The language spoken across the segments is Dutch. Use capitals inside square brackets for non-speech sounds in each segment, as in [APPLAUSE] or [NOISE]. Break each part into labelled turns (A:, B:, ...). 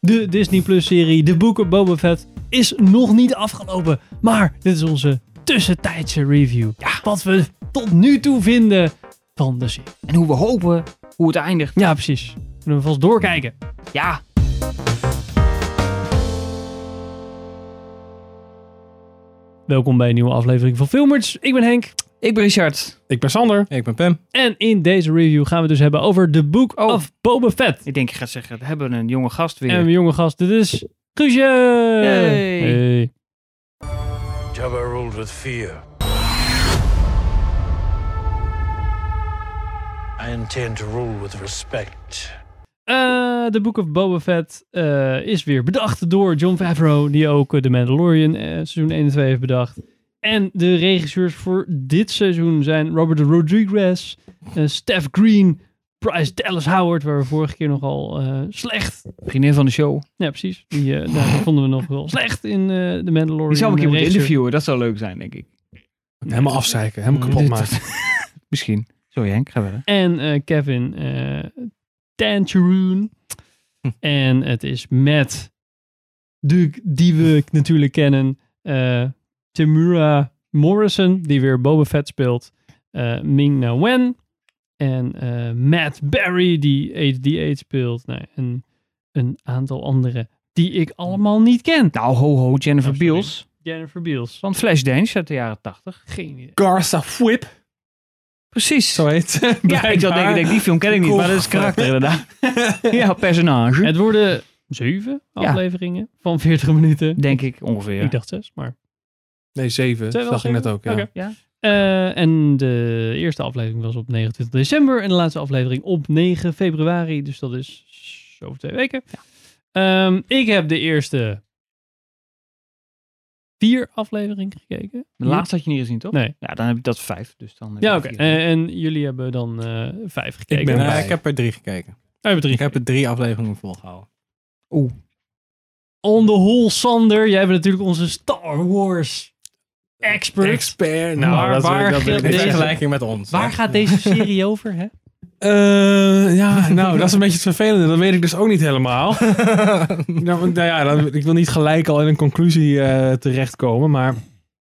A: De Disney Plus serie De Boeken Boba Fett is nog niet afgelopen. Maar dit is onze tussentijdse review. Ja, wat we tot nu toe vinden van de serie.
B: En hoe we hopen hoe het eindigt.
A: Ja, precies. Kunnen we vast doorkijken.
B: Ja,
A: Welkom bij een nieuwe aflevering van Filmers. Ik ben Henk.
B: ik ben Richard.
C: Ik ben Sander. Ik ben Pam.
A: En in deze review gaan we het dus hebben over The Book
B: Oh.
A: of Boba Fett.
B: Ik denk, ik ga zeggen, we hebben een jonge gast weer.
A: En mijn jonge gast, dit is Guusje.
B: Hey.
A: Hey.
D: Jabba ruled with fear. I intend to rule with respect.
A: Eh, The Book of Boba Fett eh, is weer bedacht door John Favreau, die ook eh, The Mandalorian eh, seizoen 1 en 2 heeft bedacht. En de regisseurs voor dit seizoen zijn Robert Rodriguez, eh, Steph Green, Bryce Dallas Howard, waar we vorige keer nogal eh, slecht...
B: Vriendin van de show.
A: Ja, precies. Die, eh daar vonden we nog wel slecht in eh The Mandalorian.
B: Die zou ik
A: De
B: een keer moeten
A: regisseur-
B: interviewen. Dat zou leuk zijn, denk ik.
C: Helemaal afzeiken, helemaal
A: Mm,
C: kapot
B: dit-
C: maken.
B: Misschien. Sorry Henk, ga verder.
A: En eh, Kevin eh Tantaroon. En het is met de, die we natuurlijk kennen, eh Tamura Morrison, die weer Boba Fett speelt. eh Ming-Na Wen. En eh, Matt Berry, die HD8 speelt. Nou, en een aantal anderen die ik allemaal niet ken.
B: Nou, ho ho, Jennifer
A: Oh, sorry.
B: Beals.
A: Jennifer Beals.
B: Van Flashdance uit de jaren tachtig.
A: Geen idee.
C: Garza Whip,
B: Precies.
C: zo heet ze.
B: Ja, ik zat denken,
C: Blijkbaar.
B: denk, die film ken ik niet,
C: Cool.
B: maar dat is karakter inderdaad.
A: [LAUGHS]
B: ja, personage.
A: Het worden zeven
B: Ja.
A: afleveringen van 40 minuten.
B: Denk ik ongeveer.
A: Ik dacht zes, maar...
C: Nee, zeven.
A: Zijn we
C: Dat dacht
A: al
C: ik net
A: zeven?
C: ook. Ja.
A: Oké.
B: Ja.
A: Eh, en de eerste aflevering was op 29 december en de laatste aflevering op 9 februari. Dus dat is over twee weken. Ehm, ik heb de eerste vier afleveringen gekeken.
B: De laatste had je niet gezien, toch?
A: Nee.
B: Ja, dan heb ik dat vijf. Dus dan heb
A: Ja,
B: je
A: oké.
B: vier.
A: Eh, en jullie hebben dan eh, vijf gekeken.
C: Ik, ben,
A: Oh,
C: eh,
A: je
C: ik heb er drie gekeken.
A: hebt drie
C: Ik heb er drie afleveringen volgehouden.
A: On the whole, Sander. Jij bent natuurlijk onze Star Wars expert. nou,
C: Expert. Nou,
A: Waar- dat is-
C: dat
A: waar dat is- geldt
C: is
A: in
C: in
A: deze-
C: vergelijking met ons.
A: Waar gaat deze serie over, hè?
C: Eh, ja, nou, dat is een beetje het vervelende. Dat weet ik dus ook niet helemaal. nou, want, nou ja, dan- ik wil niet gelijk al in een conclusie eh, terechtkomen, maar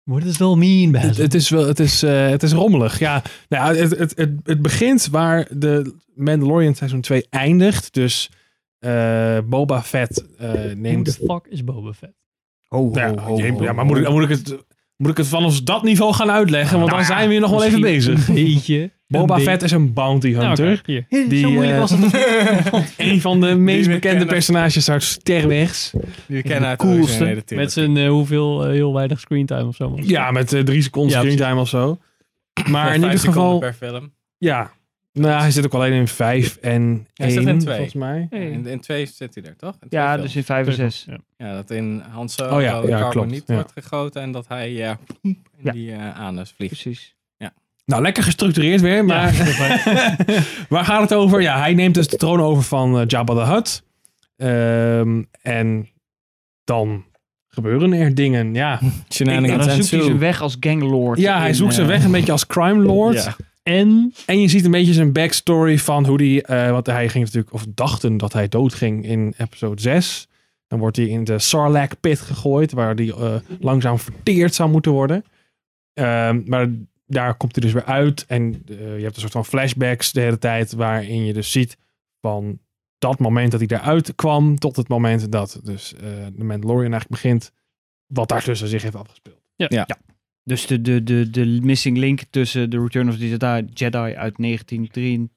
A: What is wel mean,
C: het, het is wel, het is, eh, het is rommelig. Ja, nou, ja, het, het, het, het begint waar de Mandalorian seizoen 2 eindigt. Dus eh, Boba Fett eh,
A: Who the
C: neemt...
A: fuck is Boba Fett?
B: Ho, ho,
C: Nou,
B: ho,
C: ja,
B: ho,
C: ja, maar moet ik, moet ik het... Moet ik het vanaf dat niveau gaan uitleggen? Want
B: Nou
C: dan
B: ja,
C: zijn we hier nog wel even
A: Misschien
C: [LAUGHS] bezig.
A: Een beetje.
C: Boba
A: Een
C: Fett is een bounty
A: Nou,
C: hunter.
A: oké, hier.
C: Die,
A: Zo moeilijk
C: eh,
A: was [LAUGHS] het.
C: Een van de meest
E: we
C: bekende
E: kennen.
C: personages uit Sterrechts.
E: Die we kennen uit de
B: coolste.
E: originele natuurlijk.
A: Met zijn eh, hoeveel, eh, heel weinig screentime of zo. maar-
C: Ja, met eh, drie seconden
A: Ja,
C: screentime of zo. Maar
E: Vijf
C: in ieder
E: seconden
C: geval,
E: per film.
C: ja. Nou, hij zit ook alleen in vijf en
E: Hij zit
C: één,
E: in twee.
C: volgens mij.
A: Hey.
E: In, in twee zit hij er, toch? In twee
B: Ja,
E: films.
B: dus in vijf en zes.
A: Ja.
E: Ja, dat in Han Solo
C: Oh ja,
E: de
C: ja,
E: carboniet
C: klopt, ja.
E: wordt gegoten en dat hij eh, in
B: Ja. Dus-
E: die eh, anus vliegt.
B: Precies.
C: Nou, lekker gestructureerd weer, maar waar gaat het over? Ja, hij neemt dus de troon over van eh, Jabba the Hutt. Ehm, en dan gebeuren er dingen, ja.
B: En
E: Shenanigans
B: dan
E: en
B: zoekt hij
E: zo.
B: zijn weg als ganglord.
C: Ja, hij
B: in,
C: zoekt zijn
B: eh,
C: weg een beetje als
B: [LAUGHS]
C: crime lord.
E: Ja.
A: En
C: En je ziet een beetje zijn backstory van hoe die, eh, want hij ging natuurlijk, of dachten dat hij doodging in episode 6. Dan wordt hij in de Sarlacc pit gegooid, waar die eh, langzaam verteerd zou moeten worden. Ehm, maar daar komt hij dus weer uit. En eh, je hebt een soort van flashbacks de hele tijd, waarin je dus ziet van dat moment dat hij daaruit kwam, tot het moment dat dus eh, de Mandalorian eigenlijk begint, wat daartussen zich heeft afgespeeld.
B: Dus de, de, de, de missing link tussen The Return of the Jedi, Jedi uit 1983.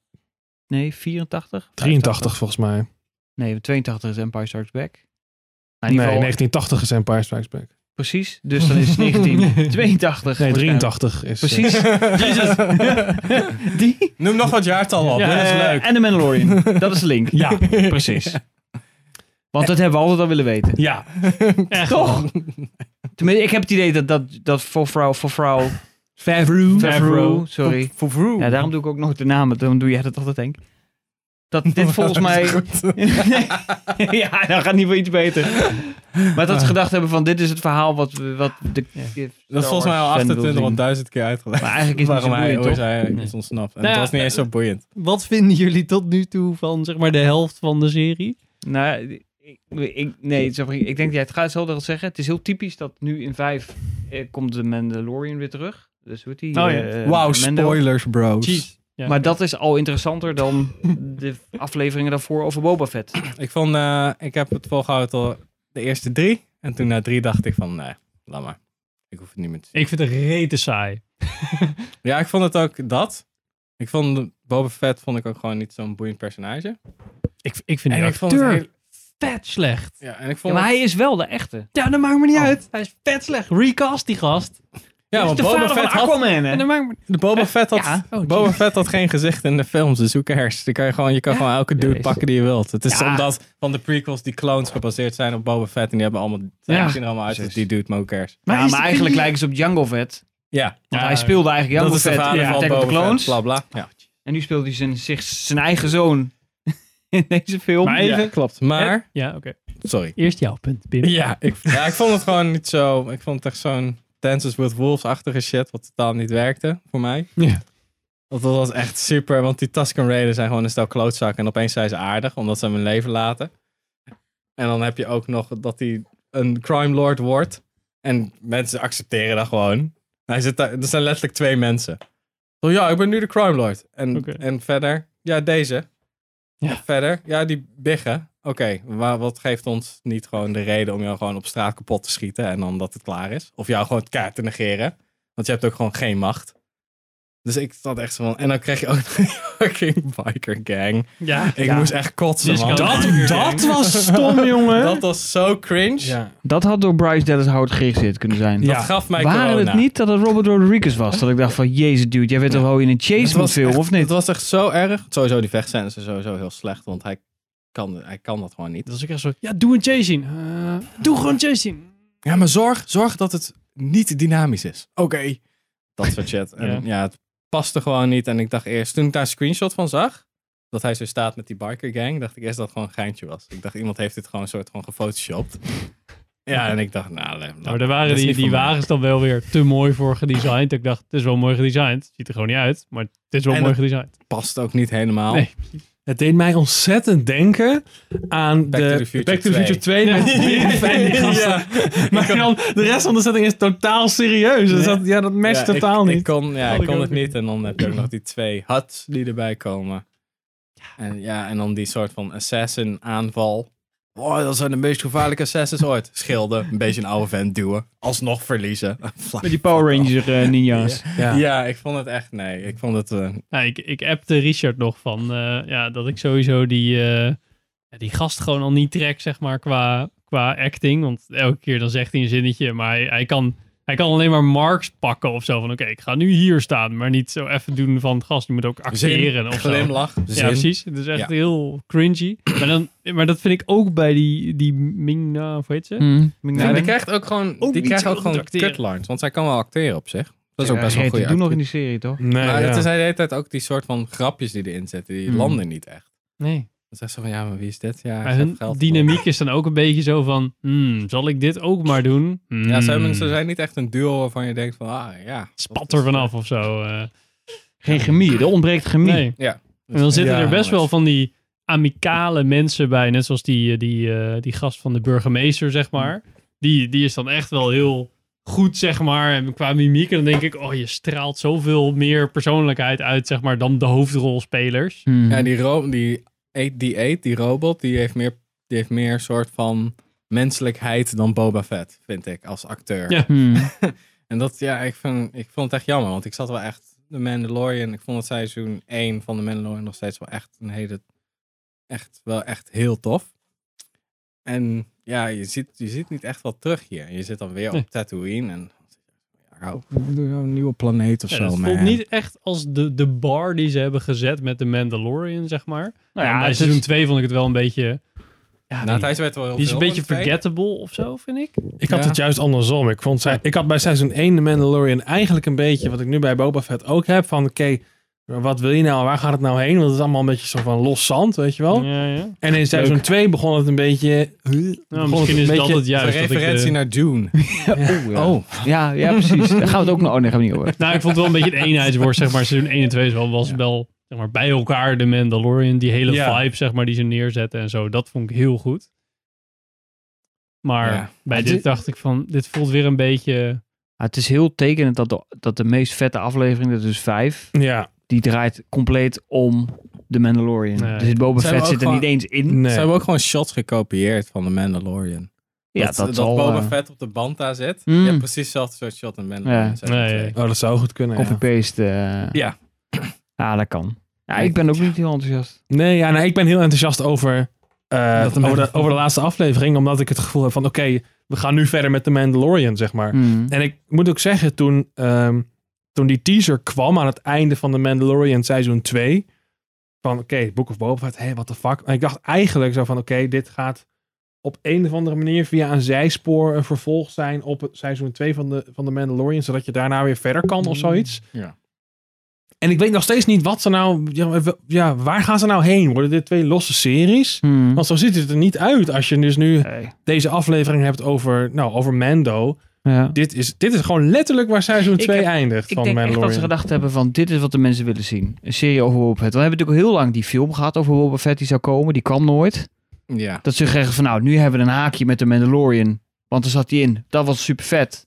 B: Nee, 84?
C: 83 volgens mij.
B: Nee, 82 is Empire Strikes Back. Nou, in
C: Nee,
B: ieder geval,
C: 1980 is Empire Strikes Back.
B: Precies. Dus dan is
C: [LAUGHS]
B: het 1982.
C: Nee,
B: waarschijnlijk.
C: 83 is. eh,
B: Precies.
E: [LAUGHS]
C: [LAUGHS]
B: Die?
E: Noem nog wat jaartal op.
B: Ja,
E: Oh, dat is
B: eh,
E: leuk.
B: En de Mandalorian. Dat is de link.
C: Ja,
B: Precies. [LAUGHS] Want dat hebben we altijd al willen weten.
C: ja.
E: [LAUGHS]
A: echt
B: Toch? Tenminste, ik heb het idee dat dat, dat voor vrouw, voor vrouw,
C: Favreau.
B: Favreau, sorry.
E: Voor vroeg.
B: Ja, daarom doe ik ook nog de namen, dan doe jij dat altijd, denk Dat
E: [LAUGHS]
B: dit volgens mij... [LAUGHS] ja, dan gaat niet voor iets beter. Maar dat ze gedacht hebben van, dit is het verhaal wat, we- wat de...
E: Ah. Dat is volgens mij al 28.000 keer uitgelegd.
B: Maar eigenlijk is het
E: Waarom
B: niet zo
E: hij
B: boeiend,
E: ooit
B: toch?
E: hij
A: Nee.
E: is ontsnapt. En
A: Nou
E: het
A: ja,
E: was niet eens zo boeiend.
A: Wat vinden jullie tot nu toe van zeg maar de helft van de serie?
B: Nou, ik, ik, nee, zeg maar, ik denk dat jij het gaat zelf al zeggen. Het is heel typisch dat nu in vijf eh, komt de Mandalorian weer terug. Dus hoe heet die?
A: Oh ja.
B: eh,
E: Wauw,
B: Mando.
E: spoilers, bros.
A: Jeez. Ja.
B: Maar dat is al interessanter dan de afleveringen daarvoor over Boba Fett.
E: Ik vond, eh, ik heb het volgehouden tot de eerste drie. En toen na drie dacht ik van, nee, laat maar. Ik hoef het niet meer te zien.
A: Ik vind het rete saai.
E: Ja, ik vond het ook dat. Ik vond Boba Fett vond ik ook gewoon niet zo'n boeiend personage.
A: Ik, ik vind
E: en
A: die
E: ik vond
A: acteur
E: het heel-
A: vet slecht.
E: ja, en ik
B: Ja,
E: vond
B: maar
E: het-
B: hij is wel de echte.
A: Ja, dat maakt me niet uit. Hij is vet slecht. Recast die gast.
E: ja,
B: Hij is
E: want
B: de
E: Boba
B: vader van
E: Fett had
B: Aquaman, hè?
A: En dat maakt me...
E: De Boba Fett had,
A: Ja. Oh,
E: Boba Fett had geen gezicht in de films, dus hoe cares? Die kan je gewoon, je kan gewoon elke dude
B: Jezus.
E: pakken die je wilt. Het is
A: Ja.
E: omdat van de prequels die clones gebaseerd zijn op Boba Fett en die hebben allemaal,
A: Ja.
E: ja. zien er allemaal uit als die dude, maar hoe cares?
B: Maar,
A: is
B: maar
A: die-
B: eigenlijk lijken ze op Django Fett.
E: Ja,
B: Want
A: Ja,
B: hij speelde eigenlijk
E: dat
B: Django
E: is de
B: Fett
E: vader
B: in
E: van
B: Attack of
E: Boba
B: the Clones.
E: Fett, bla bla. Ja.
B: En nu speelt hij zijn, zich, zijn eigen zoon [LAUGHS] in deze film.
A: Maar even-
E: Ja, klopt. Maar,
A: Ja, oké.
E: sorry.
A: Eerst jouw punt, Pim.
E: Ja ik, ja, ik vond het gewoon niet zo, ik vond het echt zo'n Dances with Wolves-achtige shit, wat totaal niet werkte voor mij.
A: Ja.
E: Want dat was echt super, want die Tusken Raiders zijn gewoon een stel klootzakken. En opeens zijn ze aardig, omdat ze hem hun leven laten. En dan heb je ook nog dat hij een crime lord wordt. En mensen accepteren dat gewoon. Hij zit daar, er zijn letterlijk twee mensen. Zo, ja, ik ben nu de crime lord. En,
A: Oké.
E: en verder, ja, deze.
A: Ja.
E: En verder, ja, die biggen. Oké, maar wat geeft ons niet gewoon de reden om jou gewoon op straat kapot te schieten en dan dat het klaar is? Of jou gewoon het kaart te negeren? Want je hebt ook gewoon geen macht. Dus ik zat echt zo van... En dan krijg je ook [LAUGHS] een fucking biker gang.
A: Ja.
E: Ik moest echt kotsen,
A: Dus
E: man.
A: dat-
C: dat was stom, jongen.
E: Dat was zo cringe.
C: Ja.
B: Dat had door Bryce Dallas Howard geregisseerd kunnen zijn.
E: Dat
C: Ja.
E: gaf mij
B: Waren
E: corona.
B: het niet dat het Robert Rodriguez was? Dat ik dacht van, jezus dude, jij bent toch wel in een
E: Het
B: chase
E: was
B: film,
E: echt-
B: of niet?
E: Het was echt zo erg. Sowieso, die vechtscènes zijn sowieso heel slecht. Want hij kan, hij kan dat gewoon niet.
A: Dat is ook echt zo... Ja, doe een chase zien.
C: Eh,
A: doe gewoon chase zien.
E: Ja, maar zorg, zorg dat het niet dynamisch is. Oké. Dat soort shit. En
A: Ja.
E: ja. het paste gewoon niet. En ik dacht eerst, toen ik daar een screenshot van zag, dat hij zo staat met die biker gang, dacht ik eerst dat het gewoon een geintje was. Ik dacht, iemand heeft dit gewoon een soort van gefotoshopt. Ja, en ik dacht, nou, nee,
A: Nou, daar waren
E: dat is
A: die,
E: niet
A: die
E: voor mij.
A: wagens dan wel weer te mooi voor gedesigned. Ik dacht, het is wel mooi gedesigned. Ziet er gewoon niet uit, maar het is wel
E: En
A: mooi gedesigned.
E: past ook niet helemaal. [LAUGHS]
A: Nee.
C: Het deed mij ontzettend denken aan
E: Back
C: de
E: to the Future
C: Back to the Future 2. met Biff en die gasten.
E: Ja.
C: [LAUGHS] Maar dan, de rest van de setting is totaal serieus. Dus dat, ja, dat matcht
E: Ja, ik-
C: totaal
E: ik
C: niet.
E: kon, ja,
A: Had
E: ik
A: ik
E: kon
A: ook
E: het
A: niet.
E: niet. En dan heb je ook nog die twee huts die erbij komen. En, ja, en dan die soort van assassin aanval. Oh, dat zijn de meest gevaarlijke assassins ooit. Schilden, een beetje een oude vent duwen. Alsnog verliezen. [LAUGHS]
B: Met die Power Ranger eh, ninja's.
E: ja. ik vond het echt, nee. Ik vond het, eh,
A: [LAUGHS] Nou, ik, ik appte Richard nog van eh, ja, dat ik sowieso die, eh, ja, die gast gewoon al niet trek, zeg maar, qua, qua acting. Want elke keer dan zegt hij een zinnetje, maar hij, hij, kan, hij kan alleen maar marks pakken of zo. Van oké, ik ga nu hier staan, maar niet zo even doen van gast, je moet ook acteren
E: zin,
A: of zo.
E: glimlach,
A: Ja,
E: zin.
A: precies. Het is echt
E: Ja.
A: heel
E: [CLEARS THROAT]
A: cringy. Maar, dan, maar dat vind ik ook bij die, die Ming-Na, of hoe heet ze?
B: Mm.
E: Ja, die krijgt ook gewoon,
A: Ook
E: die
A: niet
E: krijgt
A: zo
E: ook
A: goed
E: gewoon
A: acteren.
E: cutlines. Want zij kan wel acteren op zich. Dat is ook best wel
B: Ja,
E: een
B: Geert,
E: goede
B: die doen nog in
E: actrice.
B: die serie, toch?
C: Nee,
E: Maar
C: ja.
E: het is de hele tijd ook die soort van grapjes die erin zitten. Die
B: Mm.
E: landen niet echt.
A: Nee.
E: Dan zegt ze van, ja, maar wie is dit? Ja,
A: Maar
E: ik heb
A: hun
E: geld
A: dynamiek is dan ook een beetje zo van, hmm, zal ik dit ook maar doen?
E: voor. Ja, ze, hebben-
A: Hmm.
E: ze zijn niet echt een duo waarvan je denkt van, ah, ja.
A: spat er vanaf of zo. eh.
B: Geen chemie, er ontbreekt chemie.
A: nee.
E: Ja.
A: En dan zitten
C: Ja,
A: er best
E: nice.
A: wel van die amicale mensen bij. Net zoals die, eh, die, eh, die gast van de burgemeester, zeg maar. Die, die is dan echt wel heel goed, zeg maar. En qua mimiek. En dan denk ik, oh, je straalt zoveel meer persoonlijkheid uit, zeg maar, dan de hoofdrolspelers.
B: Hmm.
E: Ja, die, ro- die, eet, die eet, die robot, die heeft meer, die heeft meer soort van menselijkheid dan Boba Fett, vind ik, als acteur.
A: Ja.
B: Hmm.
E: En dat, ja, ik, vind, ik vond het echt jammer, want ik zat wel echt de Mandalorian. Ik vond het seizoen 1 van de Mandalorian nog steeds wel echt een hele, echt wel echt heel tof. En ja, je ziet, je ziet niet echt wat terug hier. Je zit dan weer
A: Nee.
E: op Tatooine en ja, oh, een nieuwe planeet of
A: Ja,
E: zo.
A: dat voelt
E: man.
A: niet echt als de, de bar die ze hebben gezet met de Mandalorian, zeg maar.
B: Nou
A: Nou
B: ja,
A: ja, bij
B: het
A: seizoen
B: is,
A: 2 vond ik het wel een beetje... Ja,
E: Nou,
A: weet
E: Thijs werd wel heel
A: ik. die is een
E: veel
A: beetje
E: in twee.
A: forgettable of zo, vind ik.
C: Ik had
E: Ja.
C: het juist andersom. Ik, vond zij, ik had bij seizoen 1 de Mandalorian eigenlijk een beetje wat ik nu bij Boba Fett ook heb. Van oké, wat wil je nou? Waar gaat het nou heen? Want het is allemaal een beetje zo van los zand, weet je
E: Oh.
C: wel.
A: Ja, Nou, ja.
C: En in seizoen 2 begon het een beetje...
A: Nou, misschien is dat het
E: Dat is
A: juist.
E: een
A: dat ik eh, de-
E: referentie naar Dune. Oh,
B: ja, ja, precies. Daar gaan we het ook nog... Oh, nee, gaan we niet over.
A: [LAUGHS] Nou, ik vond het wel een beetje een eenheidsworst, zeg maar. Seizoen 1 en 2 is wel, was wel zeg maar, bij elkaar de Mandalorian. Die hele
C: Ja.
A: vibe, zeg maar, die ze neerzetten en zo. Dat vond ik heel goed. Maar
E: Ja.
A: bij
B: Het
A: dit
B: is-
A: dacht ik van, dit voelt weer een beetje...
B: Maar het is heel tekenend dat de, dat de meest vette aflevering, dat is dus vijf,
C: Ja,
B: die draait compleet om de Mandalorian.
A: Nee.
B: Er zit Boba
E: Zijn we
B: Fett
E: ook
B: zit er
E: gewoon-
B: niet eens in.
C: nee.
E: Ze hebben ook gewoon shots gekopieerd van de Mandalorian.
B: ja, dat, zal...
E: Boba
B: eh,
E: Fett op de band daar zit.
B: Mm.
E: Je hebt precies hetzelfde soort shot in Mandalorian.
B: Ja.
E: Zijn er
A: Nee,
E: twee.
A: ja.
C: Oh, dat zou goed kunnen. ja.
B: Copy-paste. eh.
E: Ja.
B: Ah, dat kan. [CLEARS THROAT] Ja, ik ben ook niet heel enthousiast.
C: Nee, ja, nee, ik ben heel enthousiast over, eh,
E: Dat de
C: over, de,
E: Mandalorian-
C: over de laatste aflevering. Omdat ik het gevoel heb van, oké, we gaan nu verder met de Mandalorian, zeg maar.
B: Hmm.
C: En ik moet ook zeggen, toen, ehm, toen die teaser kwam aan het einde van de Mandalorian seizoen 2. Van oké, Book of Boba Fett, hé, what the fuck. En ik dacht eigenlijk zo van oké, dit gaat op een of andere manier via een zijspoor een vervolg zijn op het seizoen 2 van de, van de Mandalorian. Zodat je daarna weer verder kan of zoiets.
E: Ja.
C: En ik weet nog steeds niet wat ze nou, ja, w- ja, waar gaan ze nou heen? Worden dit twee losse series?
B: Hmm.
C: Want zo ziet het er niet uit als je dus nu
B: Nee.
C: deze aflevering hebt over, nou, over Mando.
B: Ja.
C: Dit is, dit is gewoon letterlijk waar seizoen
B: Ik
C: 2
B: heb-
C: eindigt
B: Ik
C: van
B: denk echt
C: Mandalorian.
B: dat ze gedacht hebben van dit is wat de mensen willen zien. Een serie over Boba Fett. We hebben natuurlijk al heel lang die film gehad over Boba Fett die zou komen. Die kwam nooit.
E: Ja.
B: Dat ze zeggen van nou nu hebben we een haakje met de Mandalorian. Want er zat die in. Dat was super vet.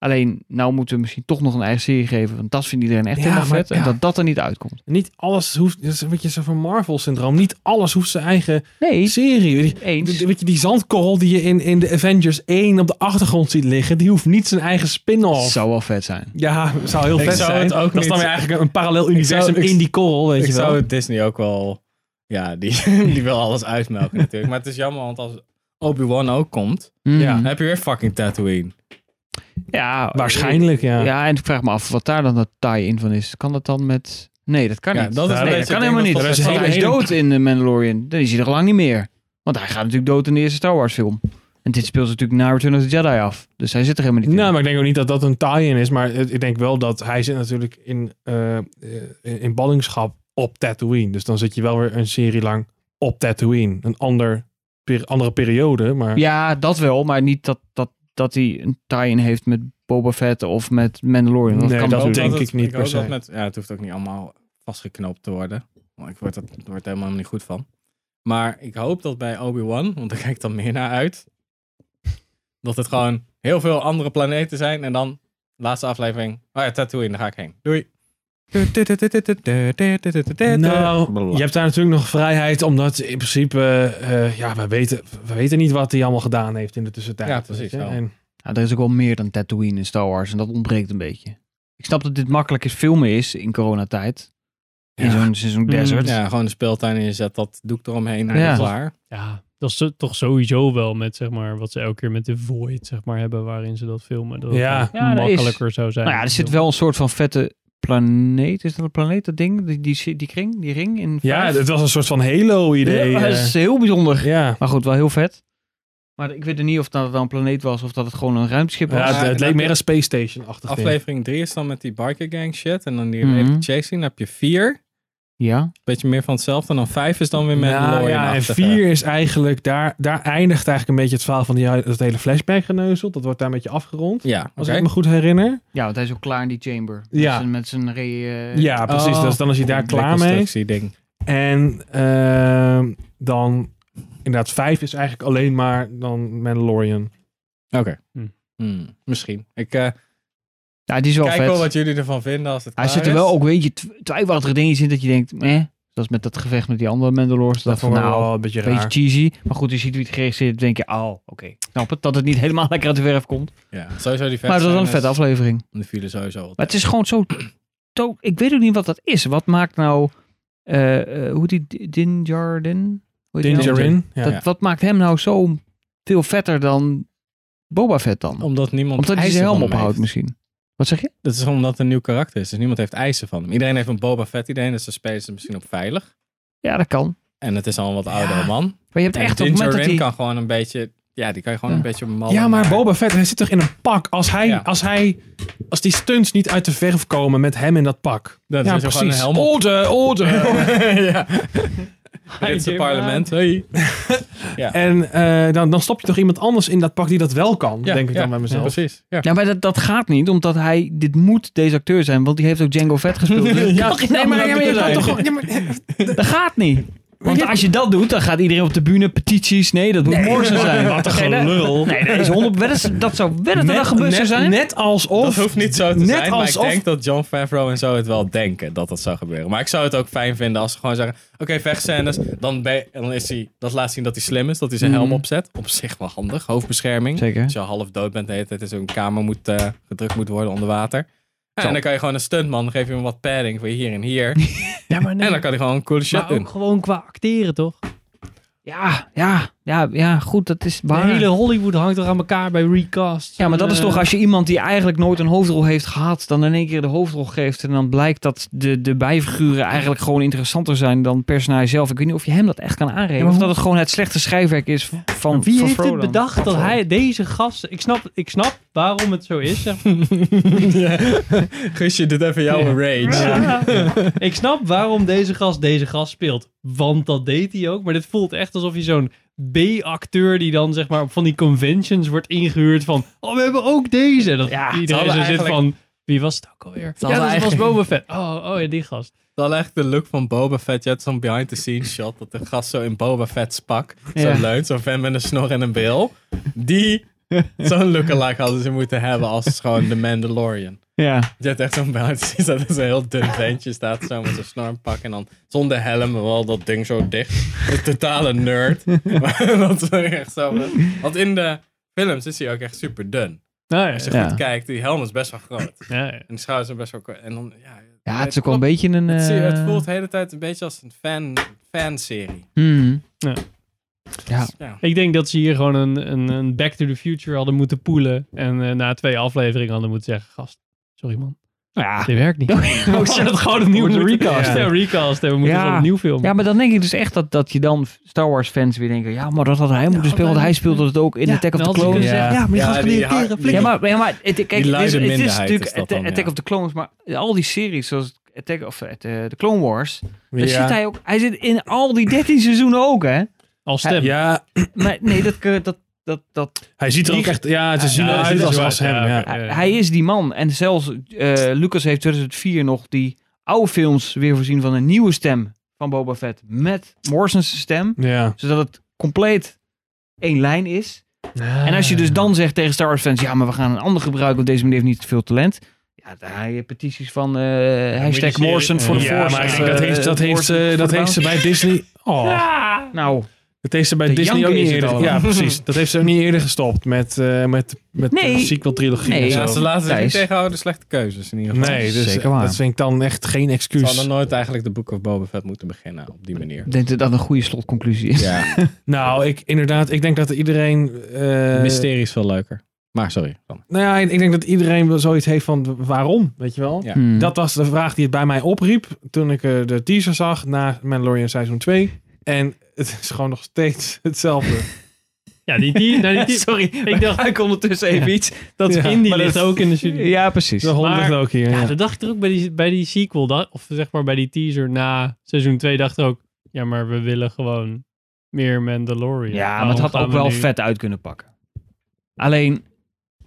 B: Alleen nou moeten we misschien toch nog een eigen serie geven. Want dat vindt iedereen echt
C: Ja,
B: helemaal
C: maar-
B: vet.
C: ja.
B: En dat dat er niet uitkomt.
C: Niet alles hoeft, dat is een beetje zo van Marvel-syndroom. Niet alles hoeft zijn eigen
B: Nee,
C: serie. Die-
B: eens.
C: die- Weet je, die zandkorrel die je in, in de Avengers 1 op de achtergrond ziet liggen, die hoeft niet zijn eigen spin-off.
B: Zou wel vet zijn.
C: Ja, zou heel
E: Ik
C: vet
E: zou
C: zijn.
E: het ook
C: dat is dan
E: niet-
C: weer eigenlijk een parallel universum
E: ik-
C: in die korrel, weet
E: Ik
C: je wel.
E: zou het Disney ook wel... Ja, die, [LAUGHS] die wil alles uitmelken natuurlijk. Maar het is jammer, want als Obi-Wan ook komt,
B: Hmm.
C: Ja.
E: dan heb je weer fucking Tatooine.
B: ja,
C: Waarschijnlijk, ja.
B: Ja, en ik vraag me af wat daar dan dat tie-in van is. Kan dat dan met... Nee, dat kan
E: Ja,
B: niet.
E: dat is
C: Ja,
E: een
B: nee,
E: beetje
B: dat kan
E: het
B: helemaal niet.
E: ding dat
C: Er is
E: vast-
B: Want
C: hele-
B: hij is
C: hele-
B: dood in de Mandalorian. Dan is hij er lang niet meer. Want hij gaat natuurlijk dood in de eerste Star Wars film. En dit speelt zich natuurlijk na Return of the Jedi af. Dus hij zit er helemaal niet
C: Nou,
B: in.
C: maar ik denk ook niet dat dat een tie-in is. Maar het- ik denk wel dat hij zit natuurlijk in, eh, eh, in, in ballingschap op Tatooine. Dus dan zit je wel weer een serie lang op Tatooine. Een ander, per- andere periode, maar...
B: Ja, dat wel. Maar niet dat, dat, dat hij een tie-in heeft met Boba Fett of met Mandalorian. Dat
C: Nee,
B: kan
C: dat
E: hoop
B: natuurlijk.
C: denk
E: dat
C: ik
E: het-
C: niet per
E: hoop dat
C: se.
E: Met, ja, het hoeft ook niet allemaal vastgeknoopt te worden. Want ik word, dat, daar word er helemaal niet goed van. Maar ik hoop dat bij Obi-Wan, want daar kijk ik dan meer naar uit, dat het gewoon heel veel andere planeten zijn. En dan, laatste aflevering, oh ja, Tatooine, daar ga ik heen. Doei.
C: Nou, je hebt daar natuurlijk nog vrijheid, omdat in principe, eh, eh, ja, we weten, we weten niet wat hij allemaal gedaan heeft in de tussentijd.
E: Ja, precies,
C: weet je.
E: wel.
C: En,
B: Ja, er is ook wel meer dan Tatooine in Star Wars. En dat ontbreekt een beetje. Ik snap dat dit makkelijk is filmen is in coronatijd. In
E: Ja.
B: zo'n, in zo'n
A: Mm.
B: desert.
E: Ja, gewoon de speeltuin en je zet dat doek eromheen en
B: Ja.
E: klaar.
A: Ja, dat is toch sowieso wel met, zeg maar, wat ze elke keer met de Void, zeg maar, hebben waarin ze dat filmen. Dat het
C: Ja.
A: dan
B: Ja, dat is-
A: makkelijker zou zijn.
B: Nou ja, er zit wel een soort van vette planeet. Is dat een planeet, dat ding? Die, die, die kring? Die ring? In
C: ja,
B: vijf?
C: het was een eh. soort van Halo-idee.
B: Ja,
C: Ja,
B: dat is heel bijzonder.
C: ja.
B: Maar goed, wel heel vet. Maar ik weet er niet of dat wel een planeet was of dat het gewoon een ruimteschip was.
C: Ja, het, het leek meer een Space Station-achtig. ding.
E: Aflevering 3 is dan met die biker gang shit. En dan die
B: Mhm.
E: redelijk chasing. Dan heb je 4.
B: Ja.
E: Beetje meer van hetzelfde. En dan 5 is dan weer met
C: Nou,
E: Mandalorian
C: ja, en
E: achtige.
C: vier is eigenlijk, daar, daar eindigt eigenlijk een beetje het verhaal van die, dat hele flashback geneuzel. Dat wordt daar een beetje afgerond,
E: Ja, oké.
C: als ik me goed herinner.
B: ja, want hij is ook klaar in die chamber.
C: Ja.
B: Met zijn- Met zijn re... eh,
C: Ja, precies.
E: Oh.
C: Dus dan is hij daar klaar mee.
E: Ding.
C: En ehm, dan, inderdaad, vijf is eigenlijk alleen maar dan Mandalorian.
E: Oké.
A: Hm.
E: Hmm, misschien. Ik eh,
B: Ja, die is wel
E: kijk
B: vet.
E: wel wat jullie ervan vinden als het
B: Hij
E: klaar
B: zit er
E: is.
B: wel ook, weet je, tw- twijfelachtige dingetjes in dat je denkt, eh, zoals met dat gevecht met die andere Mandalorians. Dat,
C: Dat
B: van
C: vond ik
B: nou,
C: wel een beetje
B: een
C: raar.
B: beetje cheesy. Maar goed, je ziet wie het geregisseerd heeft, denk je, oh, oké. Snap het, dat het niet [LAUGHS] helemaal lekker uit de verf komt.
E: Ja, sowieso die vet
B: Maar het was wel een vette
E: scènes,
B: aflevering.
E: Die vielen sowieso wel
B: Maar het is gewoon zo... to- ik weet ook niet wat dat is. Wat maakt nou... eh, eh, hoe die D- Din Djarin? Hoe heet die nou?
C: Dingerin. Ja.
B: Dat,
E: ja.
B: Wat maakt hem nou zo veel vetter dan Boba Fett dan?
E: Omdat niemand
B: Omdat hij
E: eisen
B: zijn helm
E: van hem
B: ophoudt
E: heeft.
B: misschien. Wat zeg je?
E: Dat is omdat het een nieuw karakter is. Dus niemand heeft eisen van hem. Iedereen heeft een Boba Fett idee. Dus ze spelen ze misschien op veilig.
B: Ja, dat kan.
E: En het is al een wat oudere man.
B: Maar je hebt
E: En
B: echt op
E: Din
B: het moment dat
E: Djarin
B: hij...
E: kan gewoon een beetje... Ja, die kan je gewoon
B: Ja.
E: een beetje mallen
C: Ja, maar
E: maken.
C: Boba Fett, hij zit toch in een pak. Als hij,
E: Ja.
C: als hij, als die stunts niet uit de verf komen met hem in dat pak.
E: Dan
C: ja,
E: is er gewoon
C: precies.
E: een helm op.
C: Orde, orde.
E: [LAUGHS] ja. Britse
A: Jim
E: parlement. Hey.
C: En eh, dan, dan stop je toch iemand anders in dat pak die dat wel kan, denk ik dan bij mezelf.
E: precies. Ja.
B: Ja, maar dat, dat gaat niet, omdat hij... Dit moet deze acteur [LAUGHS]
A: nou
B: zijn, want die heeft ook Django Fett gespeeld. Dus ja,
C: Nee, maar, ja, maar je kan toch gewoon- ja, maar-
B: Dat gaat niet. Want als je dat doet, dan gaat iedereen op de bühne petities. Nee, dat moet Morrison zijn. Wat een gelul. Nee, dat, is 100, wel eens- dat zou wel eens dat dat gebeurd zou
C: net,
B: zijn.
C: net alsof...
E: dat hoeft niet zo te
C: net
E: zijn, maar
C: alsof-
E: ik denk dat John Favreau en zo het wel denken dat dat zou gebeuren. Maar ik zou het ook fijn vinden als ze gewoon zeggen, oké, vechtscènes, dan, ben je- dan is hij, dat laat zien dat hij slim is, dat hij zijn helm opzet. Op zich wel handig, hoofdbescherming.
B: Zeker.
E: Als je al half dood bent de hele tijd in zo'n kamer moet, eh, gedrukt moet worden onder water. En dan kan je gewoon een stuntman, dan geef je hem wat padding voor hier en hier.
A: Ja, maar
E: En dan kan hij gewoon coole shit
C: Nou.
A: maar
E: doen.
A: ook gewoon qua acteren, toch?
B: Ja, ja, ja, ja, goed, dat is waar.
A: De hele Hollywood hangt toch aan elkaar bij recast.
B: Ja, maar dat is
A: Eh,
B: toch als je iemand die eigenlijk nooit een hoofdrol heeft gehad, dan in één keer de hoofdrol geeft en dan blijkt dat de, de bijfiguren eigenlijk gewoon interessanter zijn dan het personage zelf. Ik weet niet of je hem dat echt kan aanrekenen.
A: Ja, maar
B: of
A: hoe-
B: dat het gewoon het slechte schrijfwerk is van van
A: Wie heeft
B: Favreau
A: het
B: dan?
A: bedacht dat hij deze gast... Ik snap, ik snap waarom het zo is. zeg maar.
E: Guusje, dit even jouw rage.
A: [LAUGHS] ik snap waarom deze gast deze gast speelt. Want dat deed hij ook. Maar dit voelt echt alsof je zo'n B-acteur die dan zeg maar op van die conventions wordt ingehuurd van... Oh, we hebben ook deze. Dat
B: Ja,
E: ze
A: iedereen zo
E: hadden
A: zit
E: eigenlijk-
A: van... Wie was het ook alweer? Ja, dat
E: hadden
A: was
E: eigenlijk-
A: Boba Fett. Oh, oh ja, die gast.
E: Dat echt de look van Boba Fett. Je hebt zo'n behind-the-scenes shot dat de gast zo in Boba Fett's pak.
B: Ja.
E: Zo leunt, zo'n vent met een snor en een bril. Die, zo'n lookalike hadden ze moeten hebben als gewoon de Mandalorian.
B: Ja,
E: Je hebt echt zo'n behind-the-scenes dat er zo'n heel dun ventje staat zo met zo'n snor en pak. En dan zonder helm, maar wel dat ding zo dicht. [LAUGHS] De
B: [LAUGHS]
E: totale nerd. Maar dat is echt zo. Want in de films is hij ook echt super dun.
A: Nou, ja,
E: Als je
B: Ja.
E: goed kijkt, die helm is best wel groot.
A: ja, ja.
E: En die schouders zijn best wel kort. En dan, ja,
B: ja het is ook wel een
E: klopt.
B: beetje een...
E: Het, zie-
B: eh,
E: het voelt de hele tijd een beetje als een fan, fanserie.
B: hmm.
A: Ja.
B: Ja.
E: Ja.
A: Ik denk dat ze hier gewoon een, een, een Back to the Future hadden moeten poelen. En eh, na twee afleveringen hadden moeten zeggen... Gast, sorry man.
B: Ja.
A: Dit werkt [LAUGHS] niet.
B: Oh,
A: Ook ze het gewoon opnieuw
B: We moeten
A: recasten.
B: recasten.
A: Ja, recasten. We moeten
B: Ja.
A: gewoon opnieuw filmen.
B: ja, maar dan denk ik dus echt dat, dat je dan Star Wars fans weer denken... Ja, maar dat had hij moeten spelen, want hij speelde het ook in
A: Ja,
B: Attack of
A: dan
B: the
A: had ze kunnen
B: Clones.
E: zeggen, Ja. ja, maar die gast kan irriteren,
B: Ja,
E: flikker.
B: maar, ja, maar het, kijk,
E: Die
B: het is,
E: luide
B: het is
E: minderheid
B: natuurlijk
E: is dat
B: Atta-
E: dan, ja.
B: Attack of the Clones, maar al die series zoals Attack of eh, de Clone Wars, daar
C: Ja.
B: zit hij ook. Hij zit in al die 13 seizoenen ook, hè?
A: Als stem.
C: Ja,
B: Maar nee, dat kun- dat dat dat.
C: hij ziet er ook echt... Ja, ze zien
A: ja,
C: eruit
A: hij ziet er
C: als,
A: zo
C: als
A: uit,
C: hem.
A: ja.
C: Ja.
A: Ja.
B: hij- Hij is die man. En zelfs eh, Lucas heeft 2004 nog die oude films weer voorzien van een nieuwe stem van Boba Fett met Morrison's stem,
C: Ja.
B: zodat het compleet één lijn is. En als je
C: Ah.
B: dus dan zegt tegen Star Wars fans, ja, maar we gaan een ander gebruiken, want deze meneer heeft niet te veel talent. Ja, daar heb je petities van eh, hashtag
A: serie-
B: Morrison voor de
C: Ja,
B: Force.
C: maar ik
B: of,
C: denk dat
B: eh,
C: heeft, dat heeft,
B: Morrison
C: ze,
B: for
C: dat
B: the
C: heeft ze
B: Bounty.
C: bij Disney... Oh,
B: Nou,
C: dat heeft ze bij
B: Te
C: Disney ook
B: janken
C: niet
B: is het
C: eerder...
B: allemaal.
C: Ja, precies. Dat heeft ze ook niet eerder gestopt met, eh, met, met
B: Nee.
C: de sequel-trilogie
B: Nee.
C: en zo.
E: Ja, ze laten zich niet
B: eh, Thijs.
E: tegenhouden slechte keuzes in ieder geval.
C: Nee, dus
B: Zeker waar.
C: dat vind ik dan echt geen
E: Ze
C: excuus.
E: hadden nooit eigenlijk de Book of Boba Fett moeten beginnen op die manier.
B: ik denk dat dat een goede slotconclusie is. [LAUGHS]
E: Ja,
C: Nou, ik inderdaad, ik denk dat iedereen. eh,
E: mysterie is veel leuker. Maar sorry. Dan.
C: nou ja, ik denk dat iedereen wel zoiets heeft van waarom, weet je wel. Mm-hmm.
E: Ja.
B: Hmm. [LAUGHS]
C: Dat was de vraag die het bij mij opriep toen ik eh, de teaser zag na Mandalorian seizoen 2. En het is gewoon nog steeds [LAUGHS] hetzelfde.
A: Ja, die, die, nou, die, die-
B: [LAUGHS]
C: [LAUGHS]
B: Sorry,
A: ik dacht,
B: ik ondertussen even iets. Dat
C: Ja,
A: Indy
B: maar dat-
A: ligt ook in de studio. Ja,
B: Ja, precies.
C: De hond ligt ook hier. Ja, dus-
A: dat dacht ik er ook bij die, bij die sequel. da- of zeg maar bij die teaser na seizoen 2 dacht ik ook... Ja, maar we willen gewoon meer Mandalorian.
B: Ja, maar
A: Waarom
B: het had
A: gaan
B: ook
A: we
B: wel
A: nu-
B: vet uit kunnen pakken. Alleen,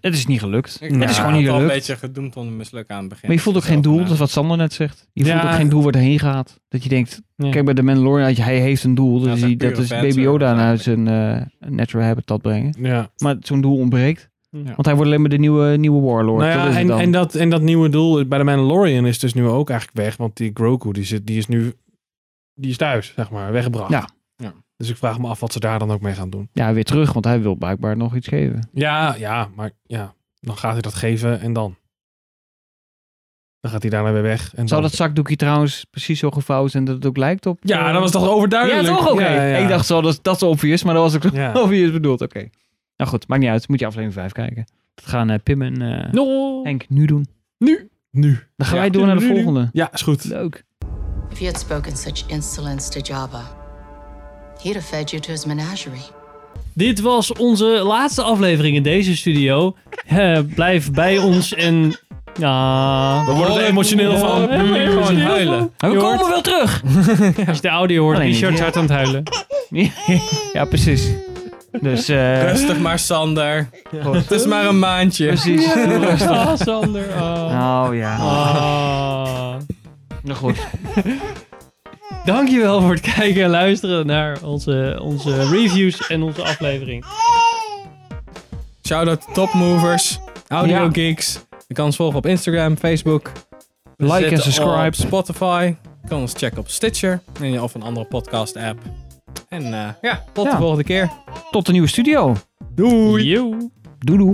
B: het is niet gelukt. het is gewoon niet
E: wel een
B: gelukt.
E: beetje gedoemd om te mislukken aan het begin.
B: Maar je voelt ook
E: Dus
B: geen doel,
E: na-
B: dat is wat Sander net zegt. Je
C: Ja.
B: voelt ook geen doel waar het heen gaat. Dat je denkt,
A: Ja.
B: kijk bij de Mandalorian, dat je- hij heeft een doel.
E: dat
B: Dus
E: is
B: die-
E: echt
B: dat
E: pure
B: is Baby
E: fanservice
B: Yoda naar zijn eh, natural habitat brengen.
C: ja.
B: Maar zo'n doel ontbreekt.
A: Ja.
B: Want hij wordt alleen maar de nieuwe, nieuwe warlord.
C: Nou ja,
B: dat is het
C: en,
B: dan.
C: en, dat, en dat nieuwe doel bij de Mandalorian is dus nu ook eigenlijk weg. Want die Grogu, die, zit, die is nu die is thuis, zeg maar, weggebracht.
B: Ja.
E: Ja.
C: Dus ik vraag me af wat ze daar dan ook mee gaan doen.
B: Ja, weer terug, want hij wil blijkbaar nog iets geven.
C: Ja, ja, maar ja, dan gaat hij dat geven en dan? Dan gaat hij daarna weer weg. En
B: Zou
C: dan-
B: dat zakdoekje trouwens precies zo gevouwen zijn dat het ook lijkt op...
C: Ja,
B: eh,
C: dat was toch overduidelijk?
B: Ja, toch? Oké.
C: Ja, ja.
B: Ik dacht zo, dat, dat is obvious, maar dat was ook
C: Ja.
B: [LAUGHS] obvious bedoeld. Oké. Nou goed, maakt niet uit. Moet je aflevering 5 kijken. Dat gaan eh, Pim en eh,
A: No.
B: Henk nu doen.
C: Nu.
B: Dan gaan
C: Ja.
B: wij door naar de
C: Nu, nu, nu.
B: volgende.
C: Ja, is goed.
B: Leuk.
F: If you had spoken such insolence to Jabba, he'd have fed you to his menagerie.
A: Dit was onze laatste aflevering in deze studio. Eh, blijf bij ons en... Ja.
C: We
E: Oh,
C: worden er emotioneel van.
A: Ja, maar
E: Mm, Gewoon
A: emotioneel van.
E: huilen.
B: Maar we
A: Je
B: komen wel terug.
A: [LAUGHS] Als je de audio hoort,
B: Alleen niet.
A: Richard is hard aan het
B: [LAUGHS]
A: huilen.
B: ja, precies. Dus,
E: [LAUGHS]
B: eh,
E: Rustig maar, Sander.
B: Goed.
E: Het is maar een maandje.
B: precies.
A: Ah, Sander. ah.
B: Oh ja.
A: Ah.
B: Nou goed.
A: Dankjewel voor het kijken en luisteren naar onze, onze reviews en onze aflevering.
E: Shout-out to topmovers, audio
A: Ja.
E: geeks. Je kan ons volgen op Instagram, Facebook. We
A: Like en
E: zitten
A: subscribe.
E: op Spotify. Je kan ons checken op Stitcher en je- of een andere podcast app. En eh, ja, tot
B: Ja.
E: de volgende keer.
B: Tot de nieuwe studio.
A: Yo.
B: Doei doei.